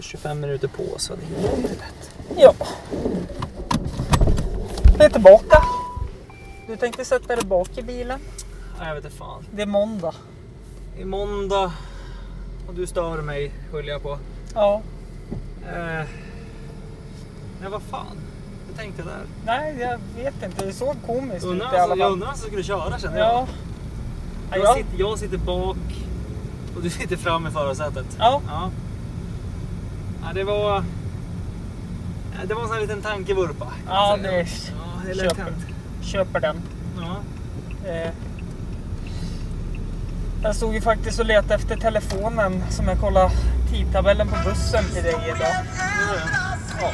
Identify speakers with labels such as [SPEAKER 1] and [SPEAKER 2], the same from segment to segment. [SPEAKER 1] 25 minuter på så det är ju lätt.
[SPEAKER 2] Ja. Jag är tillbaka. Du tänkte sätta dig bak i bilen.
[SPEAKER 1] Nej, jag vet inte fan.
[SPEAKER 2] Det är måndag.
[SPEAKER 1] I måndag och du stör mig skyller jag på.
[SPEAKER 2] Ja.
[SPEAKER 1] Eh, nej vad fan. Jag tänkte där.
[SPEAKER 2] Nej, jag vet inte. Det såg komiskt ut i
[SPEAKER 1] Undrar,
[SPEAKER 2] alla
[SPEAKER 1] alltså, jag
[SPEAKER 2] fall.
[SPEAKER 1] undrar vem som skulle köra känner
[SPEAKER 2] Ja. Ja,
[SPEAKER 1] jag. Jag,
[SPEAKER 2] jag,
[SPEAKER 1] sitter, jag sitter bak och du sitter fram i förarsätet.
[SPEAKER 2] ja.
[SPEAKER 1] Ja. ja det var... ja, Det var en sån här liten tankevurpa. kan
[SPEAKER 2] Ja,
[SPEAKER 1] jag säga.
[SPEAKER 2] det-
[SPEAKER 1] ja, det är lätt
[SPEAKER 2] köper.
[SPEAKER 1] hänt.
[SPEAKER 2] Köper den.
[SPEAKER 1] Ja.
[SPEAKER 2] Eh, Jag stod ju faktiskt och letade efter telefonen som jag kollade tidtabellen på bussen till dig idag. Ja.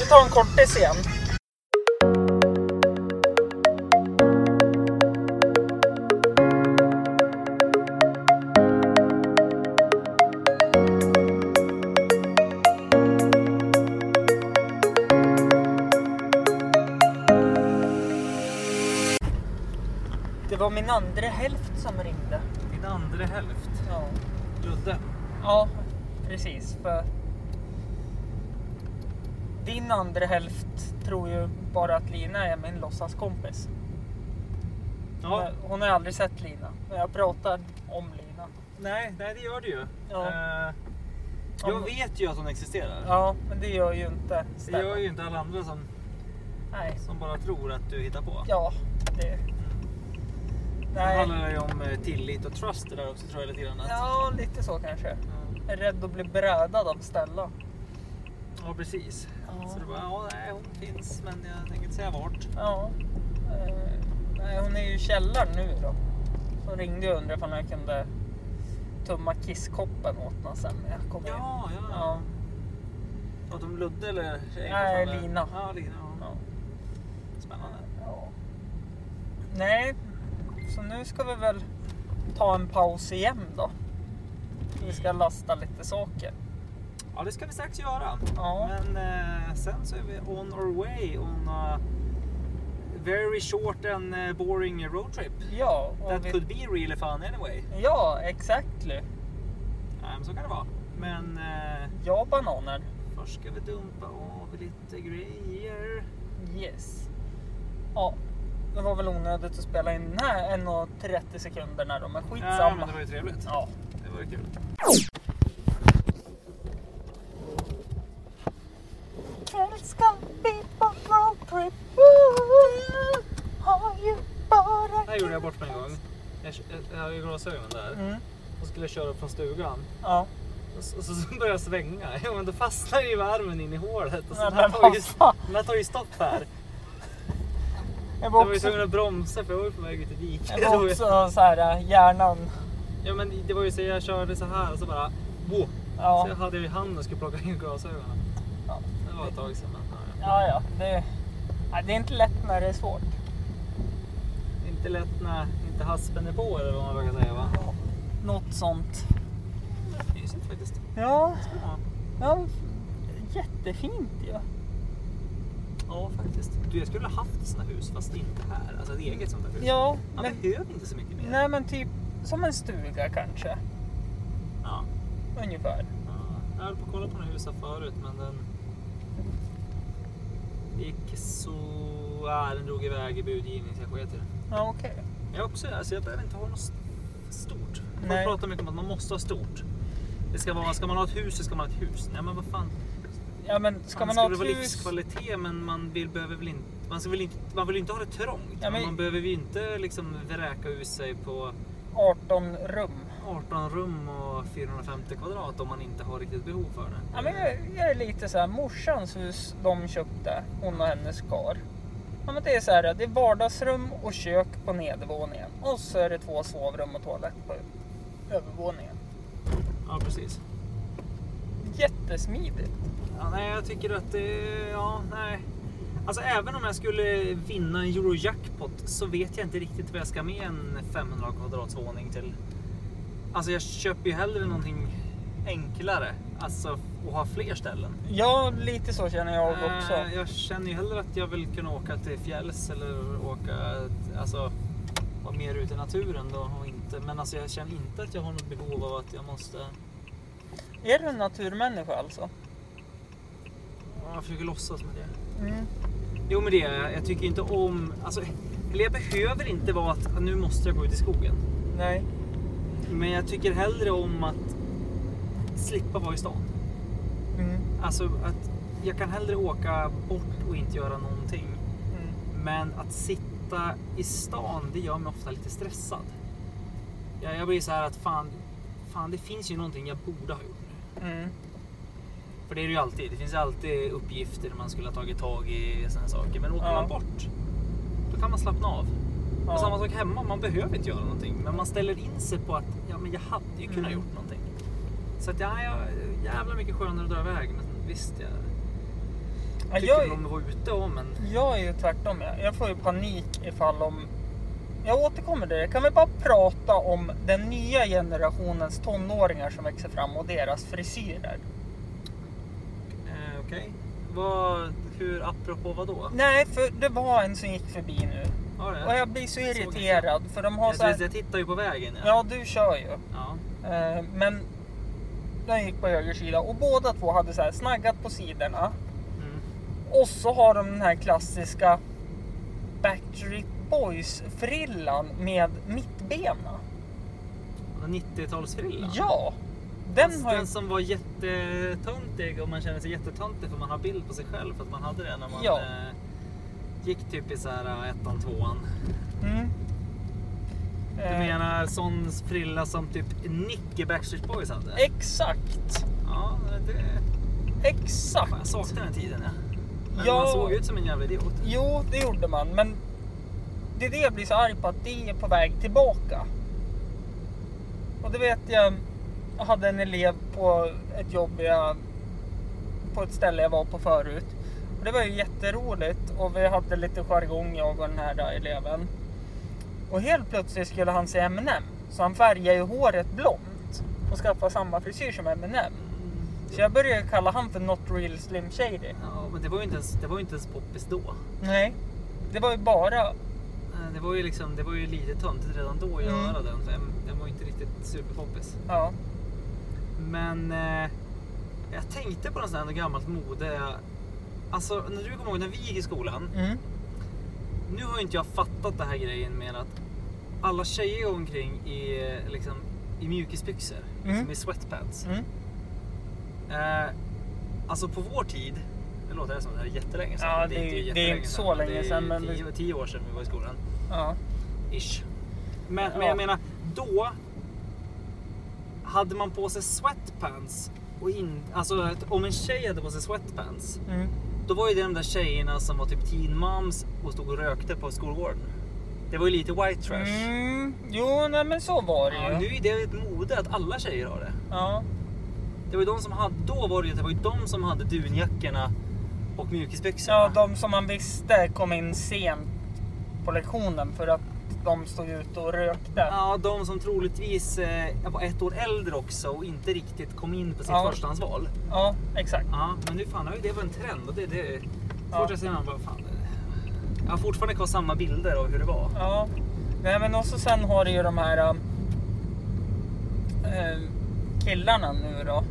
[SPEAKER 2] Vi tar en kortis igen. Det var min andra hälft som ringde.
[SPEAKER 1] Din andra hälft,
[SPEAKER 2] Ja,
[SPEAKER 1] Ludde.
[SPEAKER 2] ja precis. För din andra hälft tror ju bara att Lina är min låtsaskompis.
[SPEAKER 1] Ja,
[SPEAKER 2] Men Hon har ju aldrig sett Lina, men jag pratar om Lina.
[SPEAKER 1] nej, nej, det gör du ju.
[SPEAKER 2] Ja.
[SPEAKER 1] Eh,
[SPEAKER 2] Om-
[SPEAKER 1] jag vet ju att hon existerar.
[SPEAKER 2] Ja, men det gör ju inte
[SPEAKER 1] Det
[SPEAKER 2] Stellan.
[SPEAKER 1] gör ju inte alla andra som,
[SPEAKER 2] Nej.
[SPEAKER 1] som bara tror att du hittar på.
[SPEAKER 2] Ja, det...
[SPEAKER 1] Mm. Det
[SPEAKER 2] Nej.
[SPEAKER 1] handlar ju om eh, tillit och trust det där också tror jag lite grann. att-
[SPEAKER 2] Ja, lite så kanske.
[SPEAKER 1] Ja.
[SPEAKER 2] Jag är rädd att bli brädad av Stellan.
[SPEAKER 1] Ja, precis.
[SPEAKER 2] Ja.
[SPEAKER 1] Så du bara, ja, nej, hon finns, men jag tänker inte säga vart.
[SPEAKER 2] Ja. Eh, nej, hon är ju i källaren nu då. Så hon ringde jag och undrade om jag kunde tumma kisskoppen åt henne sen när jag kom in.
[SPEAKER 1] Ja, ja.
[SPEAKER 2] Ja.
[SPEAKER 1] Pratar du om Ludde eller tjejen?
[SPEAKER 2] Nej,
[SPEAKER 1] Eller-
[SPEAKER 2] Lina.
[SPEAKER 1] Ja, Lina. Ja.
[SPEAKER 2] Ja.
[SPEAKER 1] Spännande.
[SPEAKER 2] Ja. Nej, så nu ska vi väl ta en paus igen då. Vi ska lasta lite saker.
[SPEAKER 1] Ja, det ska vi strax göra.
[SPEAKER 2] Ja.
[SPEAKER 1] Men eh, sen så är vi on our way on a very short and eh, boring road trip.
[SPEAKER 2] Ja,
[SPEAKER 1] That
[SPEAKER 2] och vi...
[SPEAKER 1] could be really fun anyway.
[SPEAKER 2] ja exakt. Lu.
[SPEAKER 1] Nej, men så kan det vara. Men eh,
[SPEAKER 2] Ja, bananer.
[SPEAKER 1] först ska vi dumpa av lite grejer.
[SPEAKER 2] Yes. Ja, det var väl onödigt att spela in den här 1.30 sekunderna då, men
[SPEAKER 1] Ja, men
[SPEAKER 2] skitsamma.
[SPEAKER 1] det var ju trevligt.
[SPEAKER 2] Ja.
[SPEAKER 1] Det var ju kul.
[SPEAKER 3] Let's go deep on road trip. Woo! Har ju bara
[SPEAKER 1] Här gjorde jag bort mig en gång. Jag, jag, jag har ju glasögonen där
[SPEAKER 2] Mm.
[SPEAKER 1] och skulle köra upp från stugan.
[SPEAKER 2] Ja.
[SPEAKER 1] Och så, så, så börjar jag svänga. Ja, men då fastnar ju armen in i hålet. Och så
[SPEAKER 2] Ja,
[SPEAKER 1] den, här
[SPEAKER 2] men
[SPEAKER 1] tar ju,
[SPEAKER 2] vad fan.
[SPEAKER 1] den här tar ju stopp här.
[SPEAKER 2] Jag
[SPEAKER 1] Jag
[SPEAKER 2] var
[SPEAKER 1] var ju tvungen
[SPEAKER 2] också,
[SPEAKER 1] att bromsa för jag var ju på väg ut i diket.
[SPEAKER 2] jag var också så här, äh, hjärnan.
[SPEAKER 1] Ja, men det var ju så jag körde så här och så bara... Wow. Så
[SPEAKER 2] Ja,
[SPEAKER 1] jag hade jag i handen och skulle plocka in glasögonen.
[SPEAKER 2] Ja.
[SPEAKER 1] Det var ett tag sedan. Men, ja,
[SPEAKER 2] ja, ja. Det, ja, det är inte lätt när det är svårt.
[SPEAKER 1] ja. Inte lätt när inte haspen är på eller vad man brukar säga va?
[SPEAKER 2] Något sånt.
[SPEAKER 1] Mysigt faktiskt.
[SPEAKER 2] Ja,
[SPEAKER 1] Ja.
[SPEAKER 2] ja jättefint ju. Ja.
[SPEAKER 1] ja, faktiskt. Du, jag skulle ha haft ett sånt här hus fast inte här. Alltså ett eget sånt här hus.
[SPEAKER 2] ja,
[SPEAKER 1] Man
[SPEAKER 2] men
[SPEAKER 1] behöver inte så mycket mer.
[SPEAKER 2] nej, men typ som en stuga kanske.
[SPEAKER 1] Ja.
[SPEAKER 2] Ungefär.
[SPEAKER 1] Ja, Jag höll på att kolla på den här huset förut men den gick så... Ja, den drog iväg i budgivning så jag sket i den.
[SPEAKER 2] Ja, okej.
[SPEAKER 1] Jag, är också, alltså, jag behöver inte ha något stort. Man
[SPEAKER 2] Nej.
[SPEAKER 1] pratar mycket om att man måste ha stort. Det ska, vara, ska man ha ett hus så ska man ha ett hus. Nej men vad fan.
[SPEAKER 2] Ja, men ska man ha
[SPEAKER 1] skulle
[SPEAKER 2] ett
[SPEAKER 1] vara
[SPEAKER 2] hus?
[SPEAKER 1] livskvalitet men man vill, behöver väl inte... Man, ska väl inte, man vill inte ha det trångt.
[SPEAKER 2] Ja,
[SPEAKER 1] men...
[SPEAKER 2] men-
[SPEAKER 1] Man behöver ju inte liksom vräka ut sig på
[SPEAKER 2] 18 rum.
[SPEAKER 1] 18 rum och 450 kvadrat om man inte har riktigt behov för det.
[SPEAKER 2] Ja, men jag, jag är lite så här, morsans hus de köpte, hon och hennes kar. Ja, men det är så här, det är vardagsrum och kök på nedervåningen. Och så är det två sovrum och toalett på övervåningen.
[SPEAKER 1] Ja precis.
[SPEAKER 2] Jättesmidigt.
[SPEAKER 1] Ja, nej, jag tycker att det... Ja, nej. Alltså även om jag skulle vinna en Eurojackpot så vet jag inte riktigt vad jag ska med en 500 kvadrats våning till. Alltså jag köper ju hellre någonting enklare. Alltså och ha fler ställen.
[SPEAKER 2] Ja, lite så känner jag också.
[SPEAKER 1] Eh, Jag känner ju hellre att jag vill kunna åka till fjälls eller åka... Alltså vara mer ute i naturen då och inte. Men alltså jag känner inte att jag har något behov av att jag måste
[SPEAKER 2] Är du en naturmänniska alltså?
[SPEAKER 1] Ja, Jag försöker låtsas med det. Jo men det är jag. Jag tycker inte om... Alltså, eller jag behöver inte vara att "Ah, nu måste jag gå ut i skogen.
[SPEAKER 2] Nej.
[SPEAKER 1] Men jag tycker hellre om att slippa vara i stan. Alltså att jag kan hellre åka bort och inte göra någonting.
[SPEAKER 2] Mm.
[SPEAKER 1] Men att sitta i stan, det gör mig ofta lite stressad. Jag, jag blir så här att fan, fan, det finns ju någonting jag borde ha gjort nu.
[SPEAKER 2] Mm.
[SPEAKER 1] För det är det ju alltid. Det finns ju alltid uppgifter man skulle ha tagit tag i sådana saker. Men åker
[SPEAKER 2] Ja.
[SPEAKER 1] man bort, då kan man slappna av.
[SPEAKER 2] Ja.
[SPEAKER 1] Och samma sak hemma, man behöver inte göra någonting. Men man ställer in sig på att ja, men jag hade ju kunnat
[SPEAKER 2] Mm.
[SPEAKER 1] gjort någonting. Så att ja, jag, jävla mycket skönare att dra iväg. Men visst, jag
[SPEAKER 2] Ja,
[SPEAKER 1] tycker
[SPEAKER 2] jag,
[SPEAKER 1] väl om att vara ute om men
[SPEAKER 2] jag är ju tvärtom. Jag, jag får ju panik ifall om... Jag återkommer till det. Kan vi bara prata om den nya generationens tonåringar som växer fram och deras frisyrer?
[SPEAKER 1] eh, okej. Vad, hur, apropå vad då?
[SPEAKER 2] Nej, för det var en som gick förbi nu.
[SPEAKER 1] Ja, det.
[SPEAKER 2] Och jag blir så
[SPEAKER 1] Såg inte.
[SPEAKER 2] irriterad för de har
[SPEAKER 1] jag,
[SPEAKER 2] så här...
[SPEAKER 1] jag tittar ju på vägen.
[SPEAKER 2] Ja, du kör ju.
[SPEAKER 1] Ja.
[SPEAKER 2] Eh, Men den gick på höger sida och båda två hade så här snaggat på sidorna.
[SPEAKER 1] Mm.
[SPEAKER 2] Och så har de den här klassiska Backstreet Boys frillan med mittbena.
[SPEAKER 1] Och 90-talsfrillan.
[SPEAKER 2] Ja! Den
[SPEAKER 1] Fast
[SPEAKER 2] har jag...
[SPEAKER 1] den som var jättetöntig och man känner sig jättetöntig för man har bild på sig själv för att man hade det när man
[SPEAKER 2] Ja.
[SPEAKER 1] eh, gick typ i så här eh, ettan, tvåan.
[SPEAKER 2] Mm.
[SPEAKER 1] Du
[SPEAKER 2] Eh,
[SPEAKER 1] menar sån frilla som typ Nick i Backstreet Boys hade?
[SPEAKER 2] Eh. Exakt!
[SPEAKER 1] Ja, det...
[SPEAKER 2] Exakt!
[SPEAKER 1] Fan, jag saknar den tiden ja. Men
[SPEAKER 2] Ja.
[SPEAKER 1] man såg ut som en jävla idiot.
[SPEAKER 2] Jo, det gjorde man, men det är det jag blir så arg på, att det är på väg tillbaka. Och det vet jag, jag hade en elev på ett jobb jag, på ett ställe jag var på förut. Och det var ju jätteroligt och vi hade lite jargong jag och den här där eleven. Och helt plötsligt skulle han se M&M så han färgade ju håret blont och skaffade samma frisyr som M&M Så jag började kalla han för Not Real Slim Shady.
[SPEAKER 1] Ja, men det var ju inte ens, det var ju inte ens poppis då.
[SPEAKER 2] Nej, det var ju bara
[SPEAKER 1] Eh, Det var ju, liksom, det var ju lite töntigt redan då att
[SPEAKER 2] Mm.
[SPEAKER 1] göra den. för Den den var ju inte riktigt superpoppis.
[SPEAKER 2] Ja.
[SPEAKER 1] Men eh, jag tänkte på något sånt här gammalt mode. Alltså, när du kommer ihåg när vi gick i skolan.
[SPEAKER 2] Mm.
[SPEAKER 1] Nu har ju inte jag fattat den här grejen med att alla tjejer går omkring i, eh, liksom, i mjukisbyxor.
[SPEAKER 2] Mm.
[SPEAKER 1] Liksom i sweatpants.
[SPEAKER 2] Mm.
[SPEAKER 1] Eh, alltså på vår tid, det låter här som det här är jättelänge sedan.
[SPEAKER 2] Ja, det är ju- det är
[SPEAKER 1] jättelänge
[SPEAKER 2] inte
[SPEAKER 1] sedan,
[SPEAKER 2] så
[SPEAKER 1] men
[SPEAKER 2] länge sedan,
[SPEAKER 1] Det är
[SPEAKER 2] men det-
[SPEAKER 1] tio, tio år sedan vi var i skolan.
[SPEAKER 2] Ja.
[SPEAKER 1] Ish. Men, men
[SPEAKER 2] Ja.
[SPEAKER 1] jag menar, då hade man på sig sweatpants. Och in, alltså att om en tjej hade på sig sweatpants,
[SPEAKER 2] Mm.
[SPEAKER 1] då var ju det de där tjejerna som var typ teen moms och stod och rökte på skolgården. Det var ju lite white trash.
[SPEAKER 2] Mm. Jo, nej, men så var det
[SPEAKER 1] Ja, nu
[SPEAKER 2] ju.
[SPEAKER 1] är det ett mode att alla tjejer har det.
[SPEAKER 2] Ja.
[SPEAKER 1] Det var ju de som hade, då var det, ju- det var ju de som hade dunjackorna och mjukisbyxorna.
[SPEAKER 2] ja, de som man visste kom in sent på lektionen för att de stod ute och rökte.
[SPEAKER 1] Ja, de som troligtvis eh, var ett år äldre också och inte riktigt kom in på sitt
[SPEAKER 2] Ja.
[SPEAKER 1] förstahandsval.
[SPEAKER 2] Ja, exakt.
[SPEAKER 1] Ja, men nu fan har ju det var en trend och det, det
[SPEAKER 2] Ja.
[SPEAKER 1] Fort jag ser man bara fan. det- Jag har fortfarande kvar samma bilder av hur det var.
[SPEAKER 2] Ja. Nej, men också sen har du ju de här um, eh, killarna nu då.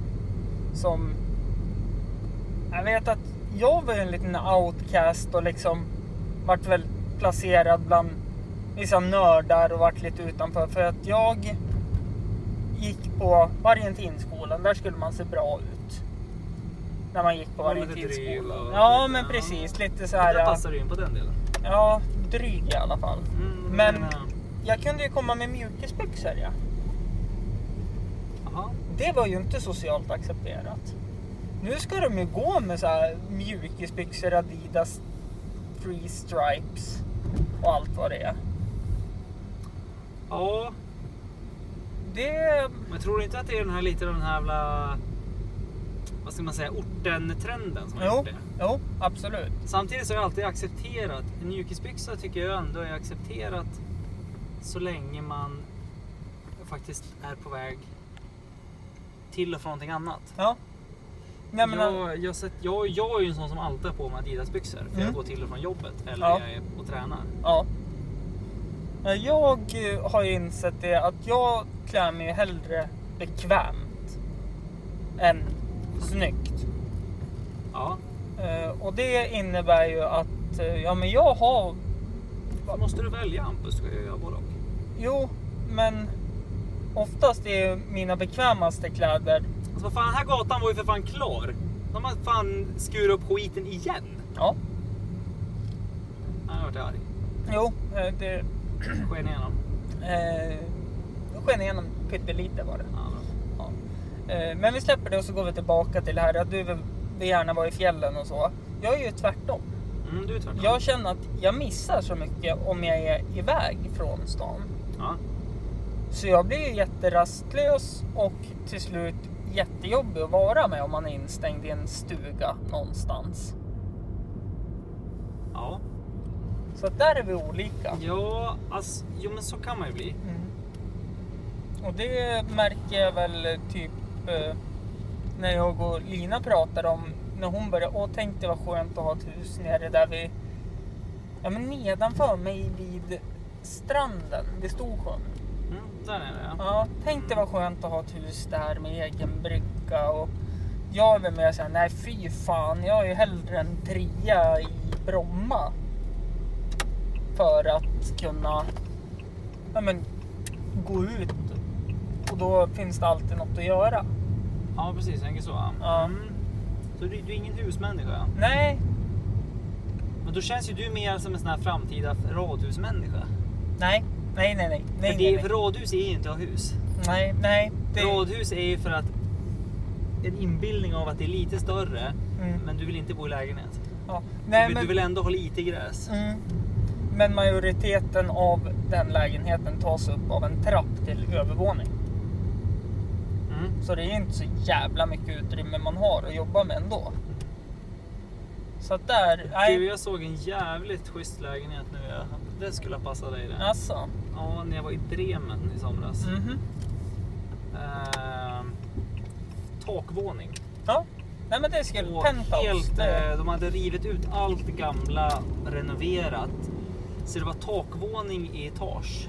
[SPEAKER 2] Som... Jag vet att jag var ju en liten outcast och liksom vart väl placerad bland vissa nördar och vart lite utanför. För att jag gick på Variantinskolan, där skulle man se bra ut. När man gick på
[SPEAKER 1] Ja, lite dryg
[SPEAKER 2] Variantinskolan.
[SPEAKER 1] och
[SPEAKER 2] Ja,
[SPEAKER 1] lite-
[SPEAKER 2] men
[SPEAKER 1] ja.
[SPEAKER 2] precis. Lite så
[SPEAKER 1] Där
[SPEAKER 2] här...
[SPEAKER 1] passar du in på den delen.
[SPEAKER 2] Ja, dryg i alla fall.
[SPEAKER 1] Mm,
[SPEAKER 2] Men-
[SPEAKER 1] eh,
[SPEAKER 2] Jag kunde ju komma med mjukisbyxor ja.
[SPEAKER 1] jaha.
[SPEAKER 2] Det var ju inte socialt accepterat. Nu ska de ju gå med så här mjukisbyxor, Adidas, Free Stripes och allt vad det är.
[SPEAKER 1] Ja,
[SPEAKER 2] Det...
[SPEAKER 1] men tror du inte att det är den här lite den här jävla vad ska man säga, orten-trenden som har
[SPEAKER 2] Jo,
[SPEAKER 1] gjort det?
[SPEAKER 2] jo, absolut.
[SPEAKER 1] Samtidigt så har jag alltid accepterat, en mjukisbyxa tycker jag ändå är accepterat så länge man faktiskt är på väg till och från någonting annat.
[SPEAKER 2] Ja. Nej men... eh,
[SPEAKER 1] jag, jag, sett, jag, jag är ju en sån som alltid har på mig Adidas-byxor. För
[SPEAKER 2] Mm.
[SPEAKER 1] jag går till och från jobbet eller
[SPEAKER 2] Ja.
[SPEAKER 1] jag är och tränar.
[SPEAKER 2] Ja. Men Jag eh, har ju insett det att jag klär mig ju hellre bekvämt. än snyggt.
[SPEAKER 1] Ja.
[SPEAKER 2] Eh, och det innebär ju att eh, ja, men jag har...
[SPEAKER 1] Vad måste du välja Hampus? Ska jag göra både och?
[SPEAKER 2] Jo, men oftast är ju mina bekvämaste kläder...
[SPEAKER 1] Alltså vad fan, den här gatan var ju för fan klar. De har fan skurit upp skiten igen.
[SPEAKER 2] Ja,
[SPEAKER 1] Nej, Jag vart arg.
[SPEAKER 2] jo, eh, det
[SPEAKER 1] Sken igenom.
[SPEAKER 2] eh, sken igenom pyttelite var det.
[SPEAKER 1] Ja, bra.
[SPEAKER 2] Ja. Eh, Men vi släpper det och så går vi tillbaka till det här att du vill vill gärna vara i fjällen och så. Jag är ju tvärtom.
[SPEAKER 1] Mm, du är tvärtom.
[SPEAKER 2] Jag känner att jag missar så mycket om jag är iväg från stan.
[SPEAKER 1] Ja.
[SPEAKER 2] Så jag blir ju jätterastlös och till slut jättejobbig att vara med om man är instängd i en stuga någonstans.
[SPEAKER 1] Ja.
[SPEAKER 2] Så att där är vi olika.
[SPEAKER 1] Ja, alltså, jo men så kan man ju bli.
[SPEAKER 2] Mm. Och det märker jag väl typ eh, när jag och Lina pratar om när hon började, åh tänk det var skönt att ha ett hus nere där vi, ja men nedanför mig vid stranden vid Storsjön.
[SPEAKER 1] Mm, där är det ja.
[SPEAKER 2] Ja, tänk det var skönt att ha ett hus där med egen brygga och jag är väl mer såhär, nej fy fan, jag är ju hellre en trea i Bromma. För att kunna, ja men, gå ut och då finns det alltid något att göra.
[SPEAKER 1] Ja precis, jag tänker så. ja.
[SPEAKER 2] Ja.
[SPEAKER 1] Mm. Så du, du är ingen husmänniska? ja.
[SPEAKER 2] Nej,
[SPEAKER 1] Men då känns ju du mer som en sån här framtida radhusmänniska.
[SPEAKER 2] nej, nej, nej, nej, nej,
[SPEAKER 1] för det,
[SPEAKER 2] nej,
[SPEAKER 1] är- för radhus är ju inte att ha hus.
[SPEAKER 2] nej, nej, det,
[SPEAKER 1] Radhus är ju för att en inbildning av att det är lite större,
[SPEAKER 2] Mm.
[SPEAKER 1] men du vill inte bo i lägenhet.
[SPEAKER 2] ja,
[SPEAKER 1] du,
[SPEAKER 2] nej,
[SPEAKER 1] vill,
[SPEAKER 2] men,
[SPEAKER 1] du vill ändå ha lite gräs.
[SPEAKER 2] mm, men majoriteten av den lägenheten tas upp av en trapp till övervåning.
[SPEAKER 1] Mm.
[SPEAKER 2] Så det är inte så jävla mycket utrymme man har att jobba med ändå. Så att där,
[SPEAKER 1] Du,
[SPEAKER 2] nej.
[SPEAKER 1] jag såg en jävligt schysst lägenhet nu. ja. Det skulle ha passat dig det.
[SPEAKER 2] Alltså.
[SPEAKER 1] Ja, när jag var i Bremen i somras.
[SPEAKER 2] Mhm.
[SPEAKER 1] Ehm, takvåning.
[SPEAKER 2] Ja. Nej men det skulle
[SPEAKER 1] Och
[SPEAKER 2] penthouse.
[SPEAKER 1] helt,
[SPEAKER 2] det,
[SPEAKER 1] eh, de hade rivit ut allt gamla, renoverat. Så det var takvåning i etage.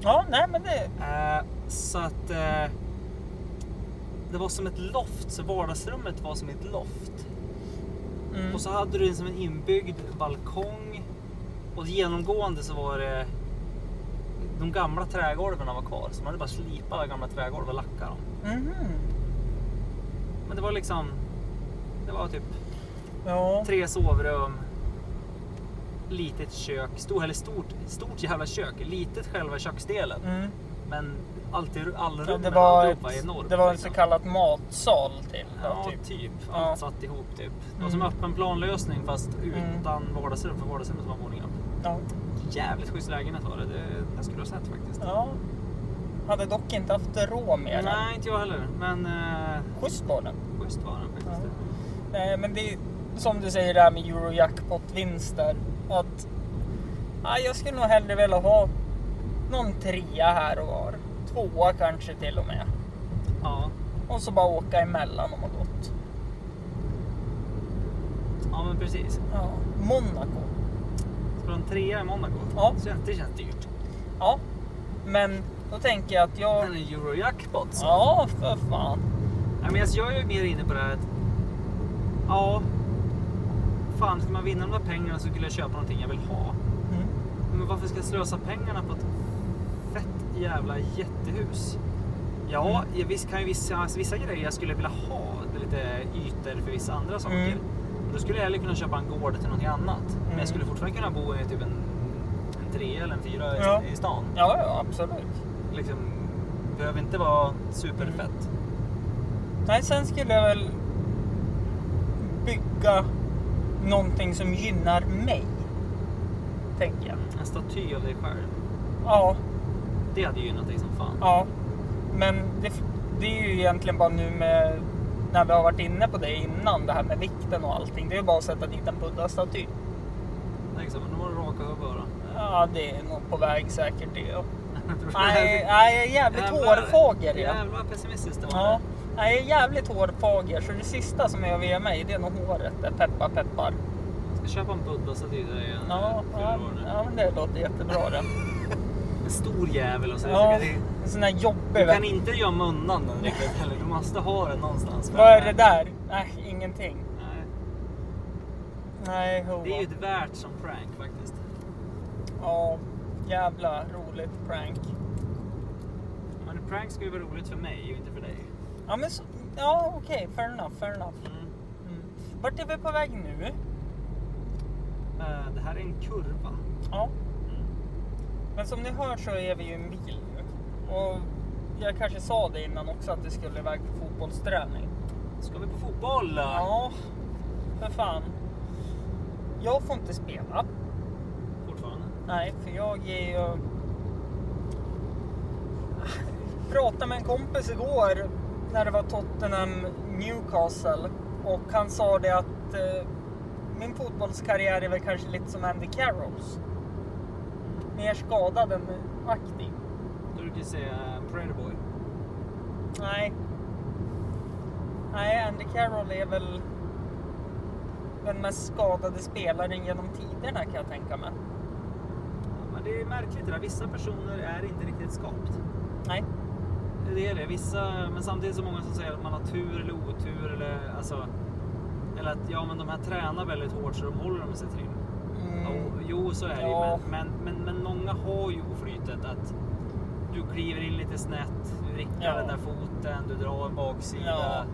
[SPEAKER 2] ja, nej men det.
[SPEAKER 1] Eh, så att eh, det var som ett loft, så vardagsrummet var som ett loft.
[SPEAKER 2] Mm.
[SPEAKER 1] Och så hade du liksom en inbyggd balkong. Och genomgående så var det de gamla trägolven var kvar. Så man hade bara slipat alla gamla trägolv och lackat dem.
[SPEAKER 2] Mhm.
[SPEAKER 1] Men det var liksom, det var typ
[SPEAKER 2] Ja.
[SPEAKER 1] tre sovrum, litet kök, stor, eller stort, stort jävla kök, litet själva köksdelen.
[SPEAKER 2] Mm.
[SPEAKER 1] Men allt, i- all
[SPEAKER 2] Ja,
[SPEAKER 1] rummen
[SPEAKER 2] det, var ett,
[SPEAKER 1] alltihopa är enormt.
[SPEAKER 2] det var en
[SPEAKER 1] liksom.
[SPEAKER 2] så kallad matsal till.
[SPEAKER 1] Ja,
[SPEAKER 2] Ja,
[SPEAKER 1] typ.
[SPEAKER 2] typ.
[SPEAKER 1] Allt
[SPEAKER 2] Ja.
[SPEAKER 1] satt ihop typ. Det var
[SPEAKER 2] Mm.
[SPEAKER 1] som öppen planlösning fast
[SPEAKER 2] Mm.
[SPEAKER 1] utan vardagsrum, för vardagsrummet var våningen upp.
[SPEAKER 2] ja.
[SPEAKER 1] Jävligt schysst lägenhet var det. det. Jag skulle ha sett faktiskt.
[SPEAKER 2] ja. Hade dock inte haft råd med den.
[SPEAKER 1] Nej, inte jag heller. Men eh,
[SPEAKER 2] Schysst var den.
[SPEAKER 1] schysst var den faktiskt.
[SPEAKER 2] Nej, men det är som du säger det här med Eurojackpot-vinster. Att ja, jag skulle nog hellre vilja ha någon trea här och var. Tvåa kanske till och med.
[SPEAKER 1] Ja.
[SPEAKER 2] Och så bara åka emellan om och gott.
[SPEAKER 1] ja, men precis.
[SPEAKER 2] Ja. Monaco.
[SPEAKER 1] Ska du ha en trea i Monaco?
[SPEAKER 2] Ja.
[SPEAKER 1] Så det känns dyrt.
[SPEAKER 2] Ja, men då tänker jag att jag...
[SPEAKER 1] Men en Eurojackpot så.
[SPEAKER 2] Ja, för fan.
[SPEAKER 1] Nej, men alltså, jag är ju mer inne på det här att... Ja. Fan, ska man vinna de där pengarna så skulle jag köpa någonting jag vill ha.
[SPEAKER 2] Mm.
[SPEAKER 1] Men varför ska jag slösa pengarna på ett fett jävla jättehus? Ja,
[SPEAKER 2] Mm.
[SPEAKER 1] jag visst kan ju vissa, alltså vissa grejer jag skulle vilja ha. Det är lite ytor för vissa andra saker.
[SPEAKER 2] Mm.
[SPEAKER 1] Men Då skulle jag hellre kunna köpa en gård till någonting annat. Men
[SPEAKER 2] Mm.
[SPEAKER 1] jag skulle fortfarande kunna bo i typ en, en trea eller en fyra i-
[SPEAKER 2] Ja.
[SPEAKER 1] i stan.
[SPEAKER 2] Ja, ja, absolut.
[SPEAKER 1] Liksom, behöver inte vara superfett.
[SPEAKER 2] Mm. Nej, sen skulle jag väl bygga någonting som gynnar mig. Tänker jag.
[SPEAKER 1] En staty av dig själv.
[SPEAKER 2] Ja,
[SPEAKER 1] Det hade gynnat dig som fan.
[SPEAKER 2] Ja, men det, det är ju egentligen bara nu med när vi har varit inne på det innan, det här med vikten och allting. Det är ju bara att sätta dit en buddha-staty.
[SPEAKER 1] Liksom, nu var det raka huvud bara.
[SPEAKER 2] Ja, det är nog på väg säkert det.
[SPEAKER 1] Jag tror det här-
[SPEAKER 2] Nej, nej, jag är jävligt
[SPEAKER 1] Jävlar-
[SPEAKER 2] hårfager. Ja.
[SPEAKER 1] Jävlar pessimistiskt det var.
[SPEAKER 2] Ja, nej, jag är jävligt hårfager, så det sista som jag vill mig, det är nog håret. Där. Peppar, peppar.
[SPEAKER 1] Jag ska köpa en buddha så till dig igen.
[SPEAKER 2] Ja,
[SPEAKER 1] Fyller
[SPEAKER 2] ja,
[SPEAKER 1] år nu.
[SPEAKER 2] ja, men det låter jättebra det.
[SPEAKER 1] En stor jävel och så.
[SPEAKER 2] Ja,
[SPEAKER 1] så kan
[SPEAKER 2] en sån där
[SPEAKER 1] du, du
[SPEAKER 2] jobbig.
[SPEAKER 1] kan
[SPEAKER 2] vet.
[SPEAKER 1] inte gömma undan den riktigt heller. Du måste ha den någonstans.
[SPEAKER 2] Vad är det där? Nej, ingenting.
[SPEAKER 1] Nej,
[SPEAKER 2] Nej, hova.
[SPEAKER 1] Det är ju ett värt som prank faktiskt.
[SPEAKER 2] Ja, jävla roligt prank.
[SPEAKER 1] Men en prank ska ju vara roligt för mig, ju inte för dig.
[SPEAKER 2] Ja, men så, ja okej, fair enough, fair enough.
[SPEAKER 1] Mm.
[SPEAKER 2] Mm. Vart är vi på väg nu?
[SPEAKER 1] Eh, Det här är en kurva.
[SPEAKER 2] Ja,
[SPEAKER 1] Mm.
[SPEAKER 2] men som ni hör så är vi ju i en bil nu. Och jag kanske sa det innan också att vi skulle iväg på fotbollsträning.
[SPEAKER 1] Ska vi på fotboll?
[SPEAKER 2] Ja, för fan. Jag får inte spela.
[SPEAKER 1] Fortfarande.
[SPEAKER 2] Nej, för jag är ju... Pratade med en kompis igår när det var Tottenham Newcastle och han sa det att eh, min fotbollskarriär är väl kanske lite som Andy Carrolls. Mer skadad än aktiv.
[SPEAKER 1] Då brukar jag säga eh, Predator Boy.
[SPEAKER 2] Nej. Nej, Andy Carroll är väl den mest skadade spelaren genom tiderna kan jag tänka mig.
[SPEAKER 1] Ja, Men det är märkligt det där. Vissa personer är inte riktigt skapt.
[SPEAKER 2] Nej.
[SPEAKER 1] Det är det. Vissa, men samtidigt så många som säger att man har tur eller otur eller alltså. Eller att ja, men de här tränar väldigt hårt så de håller dem i sig trim. Jo, Jo, så är det ju.
[SPEAKER 2] Mm. Ja.
[SPEAKER 1] Men, men, men, men många har ju oflytet att du kliver in lite snett, du vrickar
[SPEAKER 2] Ja.
[SPEAKER 1] den där foten, du drar en baksida.
[SPEAKER 2] Ja.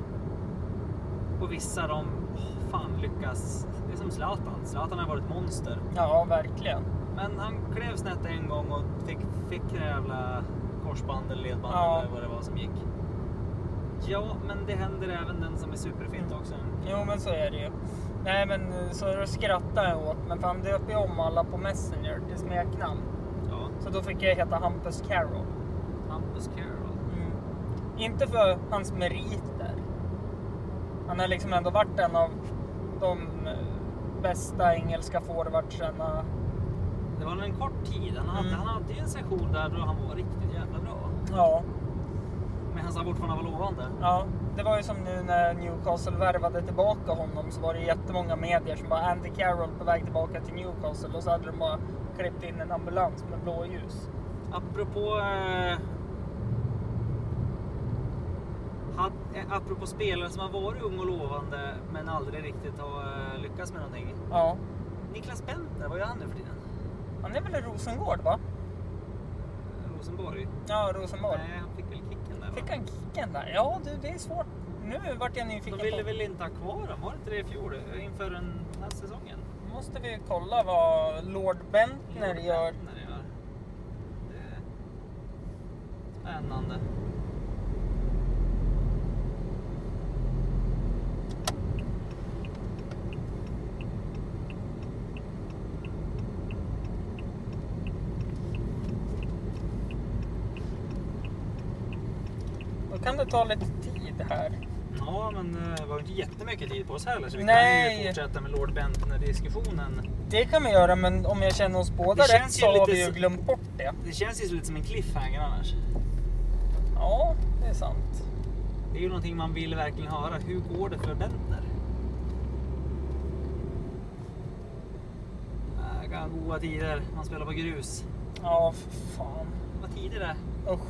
[SPEAKER 1] Och vissa de åh, fan lyckas. Det är som Zlatan. Zlatan har varit ett monster.
[SPEAKER 2] Ja, verkligen.
[SPEAKER 1] Men han klev snett en gång och fick, fick det jävla korsband eller ledband
[SPEAKER 2] Ja.
[SPEAKER 1] eller vad det var som gick. Ja, men det händer även den som är superfint
[SPEAKER 2] Mm.
[SPEAKER 1] också.
[SPEAKER 2] Jo, men så är det ju. Nej, men eh, så skrattar jag åt men för han döpte ju om alla på Messenger till smeknamn.
[SPEAKER 1] Ja,
[SPEAKER 2] Så då fick jag heta Hampus Carroll.
[SPEAKER 1] Hampus Carroll.
[SPEAKER 2] Inte för hans meriter. Han har liksom ändå varit en av de eh, bästa engelska forwardsarna.
[SPEAKER 1] Det var en kort tid. Han hade,
[SPEAKER 2] Mm.
[SPEAKER 1] han hade ju en session där då han var riktigt jävla bra.
[SPEAKER 2] Ja,
[SPEAKER 1] Men han sa fortfarande var lovande.
[SPEAKER 2] ja. Det var ju som nu när Newcastle värvade tillbaka honom så var det jättemånga medier som bara Andy Carroll på väg tillbaka till Newcastle och så hade de bara klippt in en ambulans med blåljus.
[SPEAKER 1] Apropå... Eh, had, eh, apropå spelare som har varit ung och lovande men aldrig riktigt har eh, lyckats med någonting.
[SPEAKER 2] Ja.
[SPEAKER 1] Niklas Bentner, vad gör han nu för tiden?
[SPEAKER 2] Han är väl i Rosengård va?
[SPEAKER 1] Rosenborg?
[SPEAKER 2] Ja, Rosenborg.
[SPEAKER 1] Nej, han fick väl kicken där va?
[SPEAKER 2] Fick han kicken där? Ja du, det är svårt. Nu vart jag nyfiken
[SPEAKER 1] De ville väl inte ha kvar honom? Var det inte det i fjol? eh, Inför den här säsongen?
[SPEAKER 2] Nu måste vi ju kolla vad Lord Bentner gör.
[SPEAKER 1] Bentner gör. Det är Spännande.
[SPEAKER 2] Då kan det ta lite tid här.
[SPEAKER 1] Ja, men eh, vi har ju inte jättemycket tid på oss heller så vi kan
[SPEAKER 2] Nej.
[SPEAKER 1] ju fortsätta med Lord Bentner-diskussionen.
[SPEAKER 2] Det kan vi göra, men om jag känner oss båda
[SPEAKER 1] Det
[SPEAKER 2] rätt
[SPEAKER 1] känns
[SPEAKER 2] så
[SPEAKER 1] ju
[SPEAKER 2] har
[SPEAKER 1] lite
[SPEAKER 2] vi ju
[SPEAKER 1] så-
[SPEAKER 2] glömt bort det.
[SPEAKER 1] Det känns ju lite som en cliffhanger annars.
[SPEAKER 2] Ja, det är sant.
[SPEAKER 1] Det är ju någonting man vill verkligen höra. Hur går det för Bentner? Äh, gan- Goda tider. Man spelar på grus.
[SPEAKER 2] Ja, för fan.
[SPEAKER 1] Vad tider det är.
[SPEAKER 2] Usch.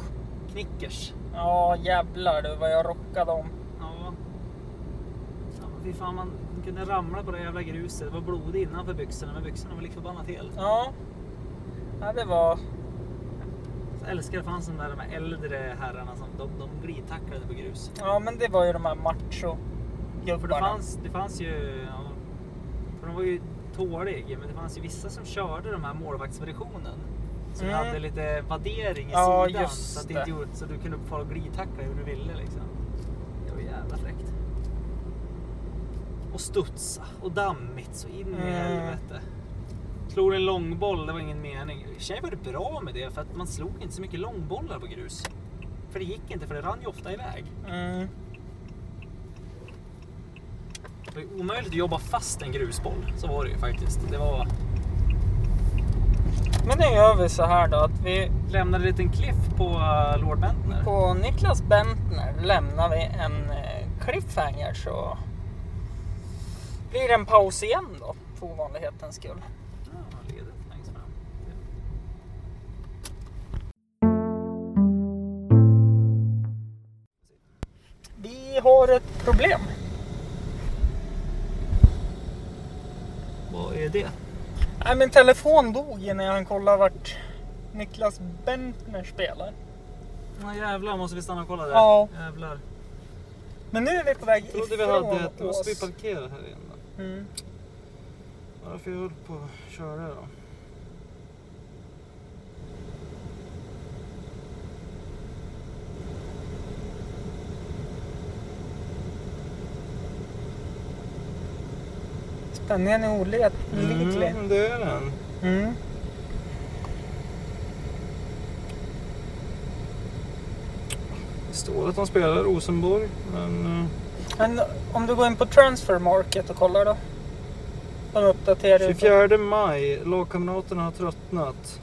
[SPEAKER 1] Knickers.
[SPEAKER 2] Ja, jävlar du vad jag rockade om.
[SPEAKER 1] Ja. ja men fy fan, man kunde ramla på det jävla gruset. Det var blod innanför byxorna, men byxorna var lik förbannat hel.
[SPEAKER 2] Ja. ja, det var...
[SPEAKER 1] Jag älskar fanns de där de här äldre herrarna som de, de glidtacklade på grus.
[SPEAKER 2] Ja, men det var ju de här macho
[SPEAKER 1] För det fanns, det fanns ju... Ja, för de var ju tåliga, men det fanns ju vissa som körde de här målvaktsversionen. Som
[SPEAKER 2] Mm.
[SPEAKER 1] hade lite vaddering i
[SPEAKER 2] Ja,
[SPEAKER 1] sidan
[SPEAKER 2] just
[SPEAKER 1] så, att det
[SPEAKER 2] det.
[SPEAKER 1] inte gjorde, så du kunde få glidtackla hur du ville. Liksom. Det var jävla fräckt. Och studsa och dammigt så in i
[SPEAKER 2] Mm.
[SPEAKER 1] helvete. Slog en långboll, det var ingen mening. I och för sig var det bra med det för att man slog inte så mycket långbollar på grus. För det gick inte för det rann ju ofta iväg.
[SPEAKER 2] Mm.
[SPEAKER 1] Det var ju omöjligt att jobba fast en grusboll. Så var det ju faktiskt. Det var...
[SPEAKER 2] Men nu gör vi så här då att vi
[SPEAKER 1] Lämnade en liten cliff på eh, Lord Bentner.
[SPEAKER 2] på Niklas Bentner lämnar vi en eh, cliffhanger så blir det en paus igen då för ovanlighetens skull.
[SPEAKER 1] Ja, ledet längst fram.
[SPEAKER 2] vi har ett problem.
[SPEAKER 1] Vad är det?
[SPEAKER 2] Nej, min telefon dog ju när han kollade vart Niklas Bentner spelar.
[SPEAKER 1] Ja, jävlar måste vi stanna och kolla där.
[SPEAKER 2] Ja.
[SPEAKER 1] Jävlar.
[SPEAKER 2] Men nu är vi på väg
[SPEAKER 1] Jag
[SPEAKER 2] ifrån
[SPEAKER 1] trodde vi hade ett...
[SPEAKER 2] Ås.
[SPEAKER 1] Måste vi parkera här igen då?
[SPEAKER 2] Mm.
[SPEAKER 1] Varför jag höll på att köra då?
[SPEAKER 2] Spänningen är olidlig.
[SPEAKER 1] Mm, det är den.
[SPEAKER 2] Mm.
[SPEAKER 1] Det står att de spelar Rosenborg, men... eh,
[SPEAKER 2] Men om du går in på transfer market och kollar då. På en uppdatering.
[SPEAKER 1] 24 maj, lagkamraterna har tröttnat.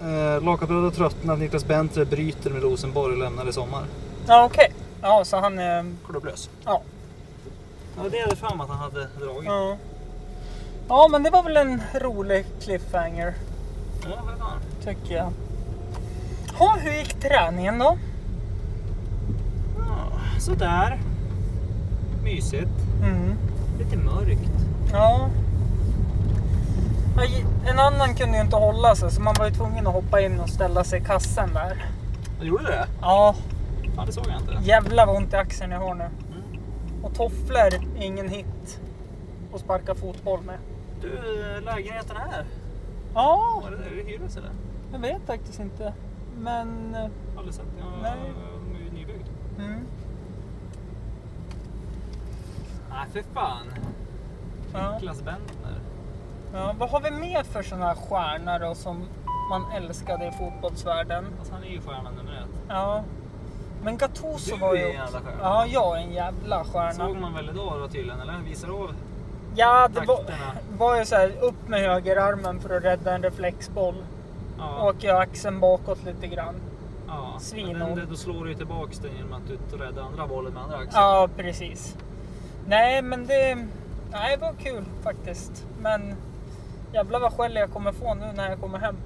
[SPEAKER 1] Eh, Lagkamraterna har tröttnat, Niklas Bentner bryter med Rosenborg och lämnar i sommar.
[SPEAKER 2] Ja okej. Ja så han är...
[SPEAKER 1] Klubblös.
[SPEAKER 2] Ja.
[SPEAKER 1] Ja, det hade fram att han hade dragit. Ja,
[SPEAKER 2] Ja. ja men det var väl en rolig cliffhanger
[SPEAKER 1] för fan.
[SPEAKER 2] tycker jag. Ha, hur gick träningen då?
[SPEAKER 1] Ja, sådär. Mysigt.
[SPEAKER 2] Mm.
[SPEAKER 1] Lite mörkt.
[SPEAKER 2] Ja. Ja, j- En annan kunde ju inte hålla sig så man var ju tvungen att hoppa in och ställa sig i kassen där.
[SPEAKER 1] Jag gjorde det?
[SPEAKER 2] Ja,
[SPEAKER 1] Fan, det såg jag inte.
[SPEAKER 2] jävlar vad ont i axeln jag har nu.
[SPEAKER 1] Mm.
[SPEAKER 2] Och tofflor är ingen hit att sparka fotboll med.
[SPEAKER 1] Du, eh, lägenheten här.
[SPEAKER 2] Ja,
[SPEAKER 1] Var det, är det hyres eller?
[SPEAKER 2] jag vet faktiskt inte. Men... eh,
[SPEAKER 1] Aldrig sett. Jag,
[SPEAKER 2] Nej.
[SPEAKER 1] Den är ju nybyggd.
[SPEAKER 2] Mm.
[SPEAKER 1] Nej, för fan.
[SPEAKER 2] Ja.
[SPEAKER 1] Niklas Bentner.
[SPEAKER 2] Ja, vad har vi mer för sådana här stjärnor då som man älskade i fotbollsvärlden?
[SPEAKER 1] Alltså, han är ju stjärna nummer ett.
[SPEAKER 2] Ja. Men Gattuso
[SPEAKER 1] Du
[SPEAKER 2] var ju...
[SPEAKER 1] är en jävla stjärna.
[SPEAKER 2] Ja, jag är en jävla stjärna.
[SPEAKER 1] Såg man väl idag då tydligen eller? Visar av?
[SPEAKER 2] Ja, det var,
[SPEAKER 1] Takterna.
[SPEAKER 2] var ju så här upp med högerarmen för att rädda en reflexboll.
[SPEAKER 1] Ja.
[SPEAKER 2] Åker jag axeln bakåt lite grann.
[SPEAKER 1] ja.
[SPEAKER 2] svin
[SPEAKER 1] Men den-
[SPEAKER 2] och-
[SPEAKER 1] det- Då slår du ju tillbaks den genom att du räddar andra bollen med andra axeln.
[SPEAKER 2] Ja, precis. Nej, men det, nej, det var kul faktiskt. Men jävlar vad skäll jag kommer få nu när jag kommer hem.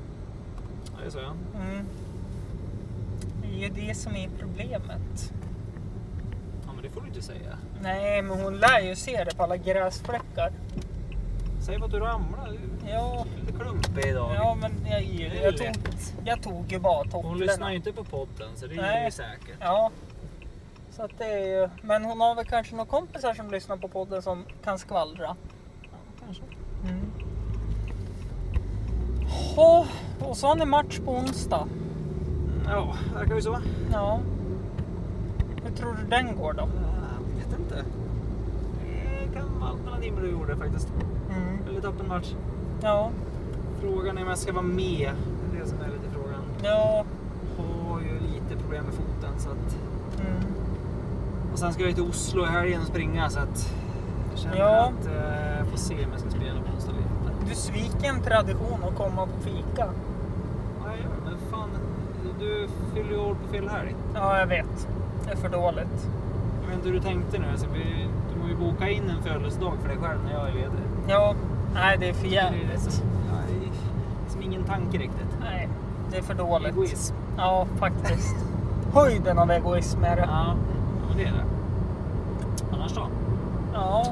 [SPEAKER 1] Ja. Det sa jag.
[SPEAKER 2] Mm. Det är ju det som är problemet.
[SPEAKER 1] Ja men det får du inte säga.
[SPEAKER 2] Nej, men hon lär ju se det på alla gräsfläckar.
[SPEAKER 1] Säg vad du ramlar. Du
[SPEAKER 2] Ja,
[SPEAKER 1] är lite klumpig idag.
[SPEAKER 2] ja men jag,
[SPEAKER 1] Det är
[SPEAKER 2] jag, tog,
[SPEAKER 1] lätt.
[SPEAKER 2] jag tog ju bara
[SPEAKER 1] Hon lyssnar
[SPEAKER 2] tofflorna.
[SPEAKER 1] ju inte på podden så det
[SPEAKER 2] Nej.
[SPEAKER 1] är ju säkert.
[SPEAKER 2] Ja. Så att det är ju... Men hon har väl kanske några kompisar som lyssnar på podden som kan skvallra.
[SPEAKER 1] Kanske.
[SPEAKER 2] Mm. Åh, och så har ni match på onsdag.
[SPEAKER 1] Ja, verkar ju så. Äh,
[SPEAKER 2] Ja. Hur tror du den går då?
[SPEAKER 1] Jag vet inte. Det kan vara allt mellan himmel och jord där faktiskt. Väldigt öppen match.
[SPEAKER 2] Ja.
[SPEAKER 1] Frågan är om jag ska vara med. Det är det som är lite frågan.
[SPEAKER 2] Ja.
[SPEAKER 1] Har ju lite problem med foten så att
[SPEAKER 2] Mm.
[SPEAKER 1] Och sen ska jag ju till Oslo i helgen och springa så att jag känner
[SPEAKER 2] Ja.
[SPEAKER 1] att eh, jag får se om jag ska spela på onsdag eller inte.
[SPEAKER 2] Du sviker en tradition att komma på fika.
[SPEAKER 1] Ja, jag gör det. Men fan, du fyller ju år på fel helg.
[SPEAKER 2] Ja, jag vet. Det är för dåligt.
[SPEAKER 1] Jag vet inte hur du tänkte nu. Alltså, vi, du måste ju boka in en födelsedag för dig själv när jag är ledig.
[SPEAKER 2] Ja. Nej, det är för
[SPEAKER 1] Det är
[SPEAKER 2] jävligt.
[SPEAKER 1] liksom, ja, det är liksom ingen tanke riktigt.
[SPEAKER 2] Nej, det är för dåligt.
[SPEAKER 1] Egoism.
[SPEAKER 2] Ja, faktiskt. Höjden av egoism är det.
[SPEAKER 1] Ja, men det är det. Annars då?
[SPEAKER 2] Ja,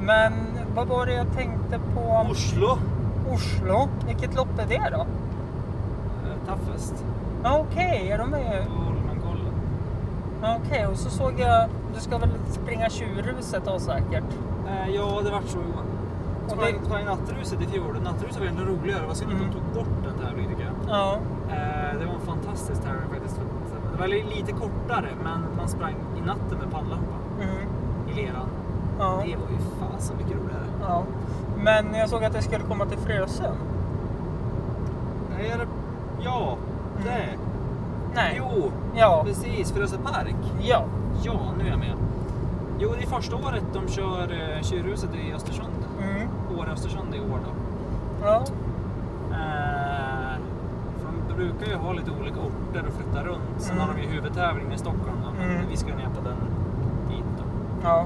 [SPEAKER 2] men vad var det jag tänkte på?
[SPEAKER 1] Oslo.
[SPEAKER 2] Oslo? Vilket lopp är det då?
[SPEAKER 1] Eh, Toughest.
[SPEAKER 2] Ja, okej, är de med?
[SPEAKER 1] Holmenkollen.
[SPEAKER 2] Ja, okej, och så såg jag... Du ska väl springa Tjurhuset då säkert?
[SPEAKER 1] Eh, Ja, det vart så Johan.
[SPEAKER 2] Och
[SPEAKER 1] Och
[SPEAKER 2] det-
[SPEAKER 1] det var ju nattruset i fjol. Nattruset var ändå roligare. Vad synd att de
[SPEAKER 2] Mm.
[SPEAKER 1] tog bort den tävlingen tycker jag.
[SPEAKER 2] Ja.
[SPEAKER 1] Eh, Det var en fantastisk tävling faktiskt. Det var lite kortare, men man sprang i natten med pannlampa
[SPEAKER 2] Mm.
[SPEAKER 1] i leran.
[SPEAKER 2] Ja.
[SPEAKER 1] Det var ju fasen mycket roligare.
[SPEAKER 2] ja. Men jag såg att det skulle komma till Frösön.
[SPEAKER 1] Nej, är det... Mm. Ja, det.
[SPEAKER 2] Nej.
[SPEAKER 1] Jo,
[SPEAKER 2] Ja.
[SPEAKER 1] precis. Frösö Park.
[SPEAKER 2] Ja.
[SPEAKER 1] Ja, nu är jag med. Jo, det är första året de kör eh, Tjurhuset i Östersund.
[SPEAKER 2] Mm.
[SPEAKER 1] Åre-Östersund i år då.
[SPEAKER 2] Ja.
[SPEAKER 1] Eh, för de brukar ju ha lite olika orter och flytta runt. Sen
[SPEAKER 2] Mm.
[SPEAKER 1] har de ju huvudtävlingen i Stockholm då, men
[SPEAKER 2] Mm.
[SPEAKER 1] vi ska ju ner på den dit då.
[SPEAKER 2] Ja.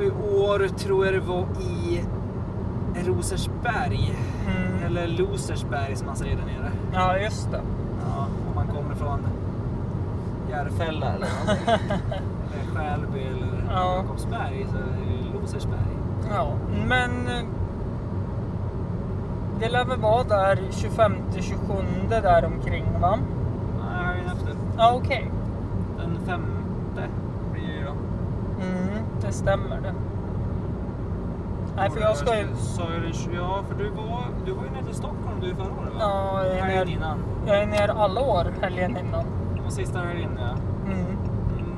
[SPEAKER 1] I år tror jag det var i Rosersberg.
[SPEAKER 2] Mm.
[SPEAKER 1] Eller Losersberg som man säger där nere.
[SPEAKER 2] Ja, just det.
[SPEAKER 1] Ja, om man kommer från... Järfälla eller någonting. eller Skälby eller
[SPEAKER 2] Ja.
[SPEAKER 1] Jakobsberg. Så är det Rosersberg.
[SPEAKER 2] Ja, men eh, det lär väl vara där 25-27 där omkring va?
[SPEAKER 1] Nej, högen efter.
[SPEAKER 2] Ja, okej.
[SPEAKER 1] Den femte blir det ju då.
[SPEAKER 2] Mm, det stämmer det. Nej, för jag ska ju...
[SPEAKER 1] Sa jag den tjugo- Ja, för du var, du var ju nere till Stockholm du förra året va?
[SPEAKER 2] Ja, jag är
[SPEAKER 1] Helgen
[SPEAKER 2] ner,
[SPEAKER 1] innan.
[SPEAKER 2] jag är ner alla år helgen innan.
[SPEAKER 1] Det var sista helgen ja.
[SPEAKER 2] Mm,
[SPEAKER 1] Mm.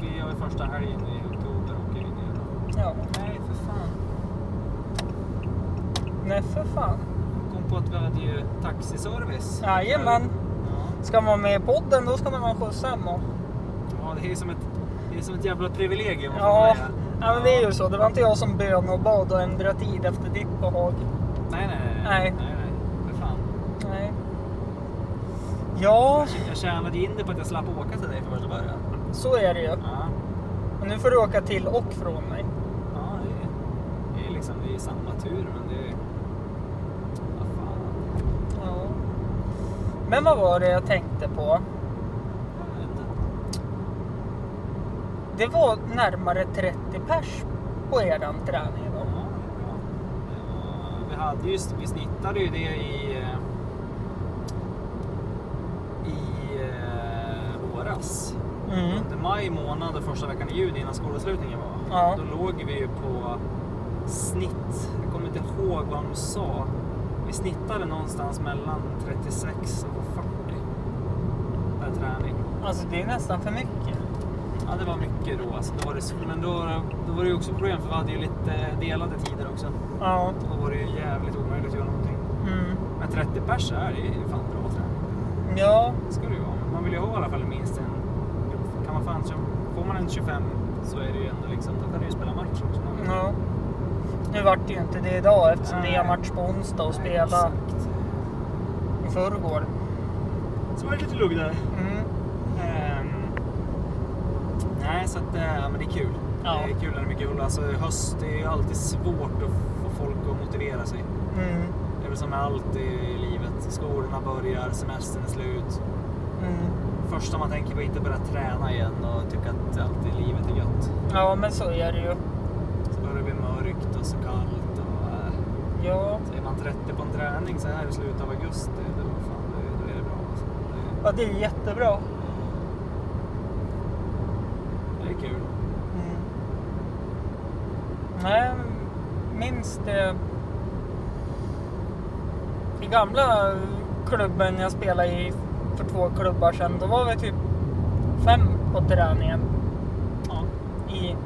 [SPEAKER 1] Vi gör ju första helgen i oktober och åker vi ner då.
[SPEAKER 2] ja.
[SPEAKER 1] Nej, för fan.
[SPEAKER 2] Nej, för fan.
[SPEAKER 1] Kom på att vi hade ju taxiservice.
[SPEAKER 2] Jajamän.
[SPEAKER 1] Ja.
[SPEAKER 2] Ska man med i podden då ska man ha en skjuts hem och...
[SPEAKER 1] Ja, det är ju som ett, det är som ett jävla privilegium. att få vara
[SPEAKER 2] Ja,
[SPEAKER 1] med.
[SPEAKER 2] ja, men det är ju så. Det var inte jag som bön och bad och ändra tid efter ditt behag.
[SPEAKER 1] Nej, nej, nej.
[SPEAKER 2] Nej.
[SPEAKER 1] nej, nej. För fan.
[SPEAKER 2] Nej. Ja,
[SPEAKER 1] Jag tjänade ju in det på att jag slapp åka till dig från första början.
[SPEAKER 2] så är det ju.
[SPEAKER 1] Ja,
[SPEAKER 2] Och nu får du åka till och från mig.
[SPEAKER 1] ja det, är, det är liksom det är samma tur, men det är... Vad fan.
[SPEAKER 2] Ja. Men vad var det jag tänkte på?
[SPEAKER 1] Jag vet inte.
[SPEAKER 2] Det var närmare 30 pers på eran träning
[SPEAKER 1] Ja,
[SPEAKER 2] idag.
[SPEAKER 1] det är bra. Det var- Vi, hade ju, vi snittade ju det i... eh, I eh, våras.
[SPEAKER 2] Mm.
[SPEAKER 1] Under maj månad och första veckan i juni innan skolavslutningen var.
[SPEAKER 2] Ja.
[SPEAKER 1] Då låg vi ju på snitt. Jag kommer inte ihåg vad de sa. Vi snittade någonstans mellan 36 och 40 per träning.
[SPEAKER 2] Alltså det är nästan för mycket.
[SPEAKER 1] Ja, det var mycket då. Alltså, då var det, så- men då, då var det ju också problem för vi hade ju lite delade tider också.
[SPEAKER 2] Ja.
[SPEAKER 1] Då var det ju jävligt omöjligt att göra någonting.
[SPEAKER 2] Mm.
[SPEAKER 1] Men 30 pers är det ju fan bra träning.
[SPEAKER 2] Ja.
[SPEAKER 1] Det ska det ju vara. Men Man vill ju ha i alla fall minst en... Kan man fan, köra- får man en 25 så är det ju ändå liksom, då kan du ju spela match också.
[SPEAKER 2] ja. Nu vart det ju inte det idag eftersom det är
[SPEAKER 1] Nej.
[SPEAKER 2] match på onsdag och
[SPEAKER 1] Nej,
[SPEAKER 2] spela
[SPEAKER 1] exakt.
[SPEAKER 2] i förrgår.
[SPEAKER 1] Så var det lite lugg där.
[SPEAKER 2] Mm.
[SPEAKER 1] Ehm, nej, så att, eh, ja, men det är kul.
[SPEAKER 2] Ja.
[SPEAKER 1] Det är kul när det är mycket hull. Alltså, höst det är ju alltid svårt att få folk att motivera sig.
[SPEAKER 2] Mm.
[SPEAKER 1] Det är väl som med allt i livet. Skolorna börjar, semestern är slut.
[SPEAKER 2] Mm.
[SPEAKER 1] Första man tänker på är inte börja träna igen och tycka att allt i livet är gött.
[SPEAKER 2] Ja men så är det ju.
[SPEAKER 1] Så börjar det bli mörkt och så kallt. Och, eh,
[SPEAKER 2] Ja.
[SPEAKER 1] så är man 30 på en träning så här i slutet av augusti, då, fan, då, då är det bra. Alltså. Det,
[SPEAKER 2] ja det är jättebra.
[SPEAKER 1] det är kul.
[SPEAKER 2] Mm. Nej, minns det i gamla klubben jag spelade i för två klubbar sedan, då var vi typ fem på träningen
[SPEAKER 1] Ja.
[SPEAKER 2] i